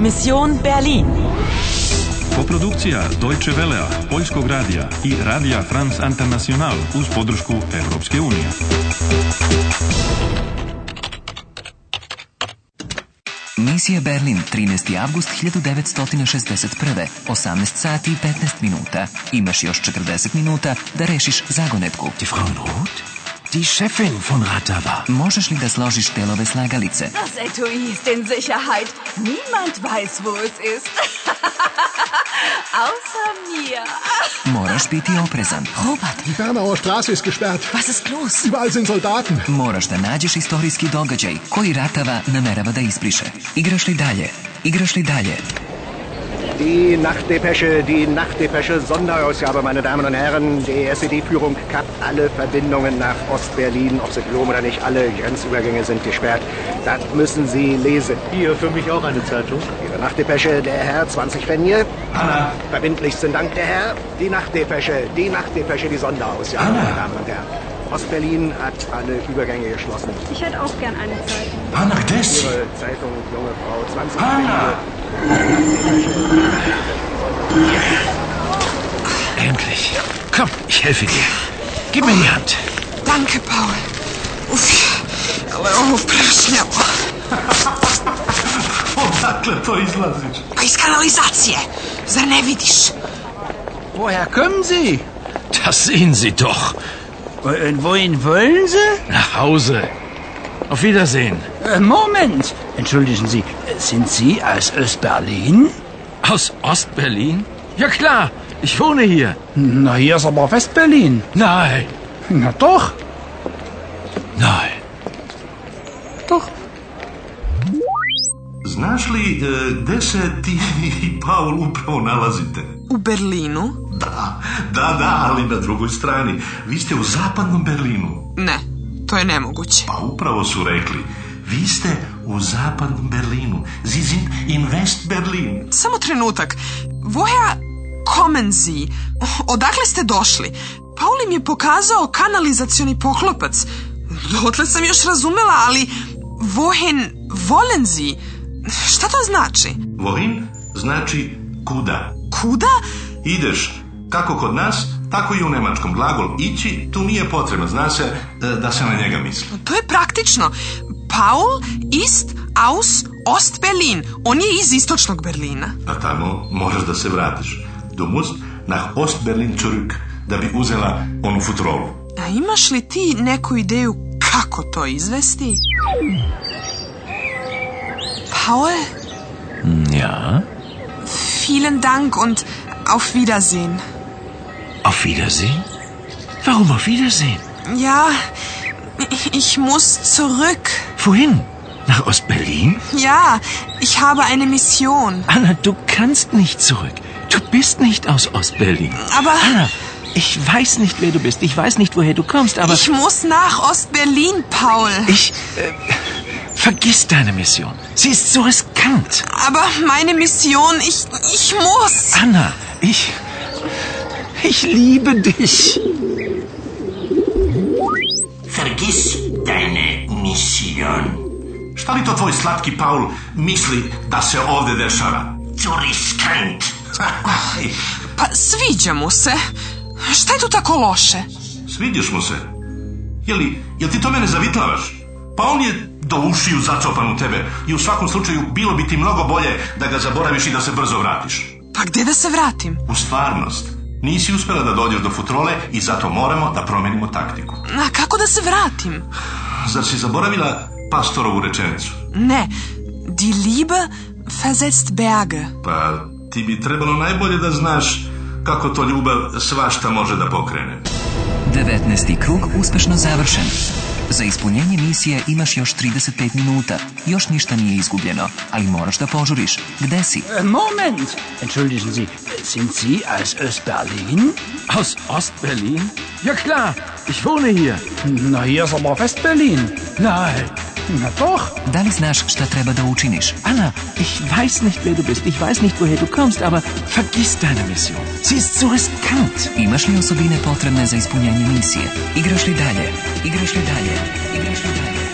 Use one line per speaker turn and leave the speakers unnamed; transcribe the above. Mission Berlin.
Koprodukcija Deutsche Velea, Poljskog radija i Radija France International uz podršku Europske unije.
Misija Berlin, 13. avgust 1961. 18 sati i 15 minuta. Imaš još 40 minuta da rešiš zagonetku.
Die Frau in Rot? Die Chefin von Ratava.
Možeš li da složiš telove slagalice?
Das Etui ist in Sicherheit. Niemand weiß, wo es ist. Außer mir.
Moraš biti oprezan.
Robert,
Die Bernauer Straße ist gesperrt.
was ist los?
Überall sind Soldaten.
Moraš da nađeš istorijski događaj koji ratava namerava da ispriše. Igraš li dalje? Igraš li dalje?
Die Nachtdepesche, die Nachtdepesche, Sonderausgabe, meine Damen und Herren. Die SED-Führung kappt alle Verbindungen nach Ostberlin, ob Sie glauben oder nicht, alle Grenzübergänge sind gesperrt. Das müssen Sie lesen.
Hier, für mich auch eine Zeitung.
Ihre Nachtdepesche, der Herr, 20 Fenje.
Anna.
Verbindlichsten Dank, der Herr. Die Nachtdepesche, die Nachtdepesche, die Sonderausgabe, meine Damen und Herren. Ostberlin hat alle Übergänge geschlossen.
Ich hätte auch gern eine Zeitung.
Anna Desi.
Ihre Zeitung, junge Frau, 20
Anna.
Fenje.
Endlich. Komm, ich helfe dir. Gib mir die Hand.
Danke, Paul. Uff, ovo prešljavo.
Odakle to izlaziš?
Pa iz kanalizacije. Zar ne vidiš?
Woher kommen Sie? Das sehen Sie doch.
Und Äh, wohin wollen Sie?
Nach Hause. Auf Wiedersehen.
Äh, Moment. Entschuldigen Sie, äh, sind Sie aus Östberlin?
Aus Ostberlin? Ja klar, ich wohne hier.
Na, hier ist aber Westberlin.
Nein,
Na doch.
nein.
Doch.
Znaš li e, gde se ti i Paul upravo nalazite?
U Berlinu?
Da, da, da, ali na drugoj strani. Vi ste u zapadnom Berlinu.
Ne, to je nemoguće.
Pa upravo su rekli. Vi ste u zapadnom Berlinu. Sie sind in West Berlin.
Samo trenutak. Voja Komenzi, odakle ste došli? Paul im je pokazao kanalizacioni poklopac. Dotle sam još razumela, ali... Vohen Volenzi, šta to znači?
Vohin znači kuda.
Kuda?
Ideš, kako kod nas, tako i u nemačkom. Glagol ići tu nije potrebno. Zna se e, da se na njega misli.
To je praktično. Paul ist aus Ost Berlin. On je iz istočnog Berlina.
a tamo moraš da se vratiš. Do Must nach Ostberlin zurück, da bi uzela onu futrolu.
A imaš li ti neku ideju kako to izvesti? Paul,
Ja,
vielen Dank und auf Wiedersehen.
auf Wiedersehen? Warum auf Wiedersehen?
Ja, ich muss zurück.
Wohin? Nach Ostberlin?
Ja, ich habe eine Mission.
Anna, du kannst nicht zurück. Du bist nicht aus Ostberlin.
Aber-
Anna, ich weiß nicht, wer du bist. Ich weiß nicht, woher du kommst, aber
Ich muss nach Ost-Berlin, Paul.
ich, äh, vergiss deine Mission. Sie ist so riskant.
Aber meine Mission, ich, ich muss.
Anna, ich. Ich liebe dich.
Vergiss deine Mission. Šta li to tvoj slatki Paul misli da se ovdje dešava? Zu riskant.
Pa sviđa mu se. Šta je tu tako loše?
Sviđaš mu se. Jeli, jel ti to mene zavitlavaš? Pa on je do ušiju zacopan u tebe i u svakom slučaju bilo bi ti mnogo bolje da ga zaboraviš i da se brzo vratiš.
Pa gdje da se vratim?
U stvarnost, nisi uspjela da dođeš do futrole i zato moramo da promenimo taktiku.
A kako da se vratim?
Zar si zaboravila pastorovu rečenicu?
Ne, die Liebe versetzt Berge.
Pa ti bi trebalo najbolje da znaš kako to ljubav svašta može da pokrene.
19. krug uspešno završen. Za ispunjenje misije imaš još 35 minuta. Još ništa nije izgubljeno, ali moraš da požuriš. Gde si?
Äh, Moment. Entschuldigen Sie, äh, sind Sie aus Östberlin?
Aus Ostberlin? Ja klar, ich wohne hier.
Na, hier ist aber Westberlin.
Nein.
Na doch.
Da li znaš šta treba da učiniš?
Anna, ich weiß nicht, wer du bist. Ich weiß nicht, woher du kommst, aber vergiss deine Mission. Sie ist so riskant.
Imaš li osobine potrebne za ispunjenje misije? Igraš li dalje? Igraš li dalje? Igraš li dalje?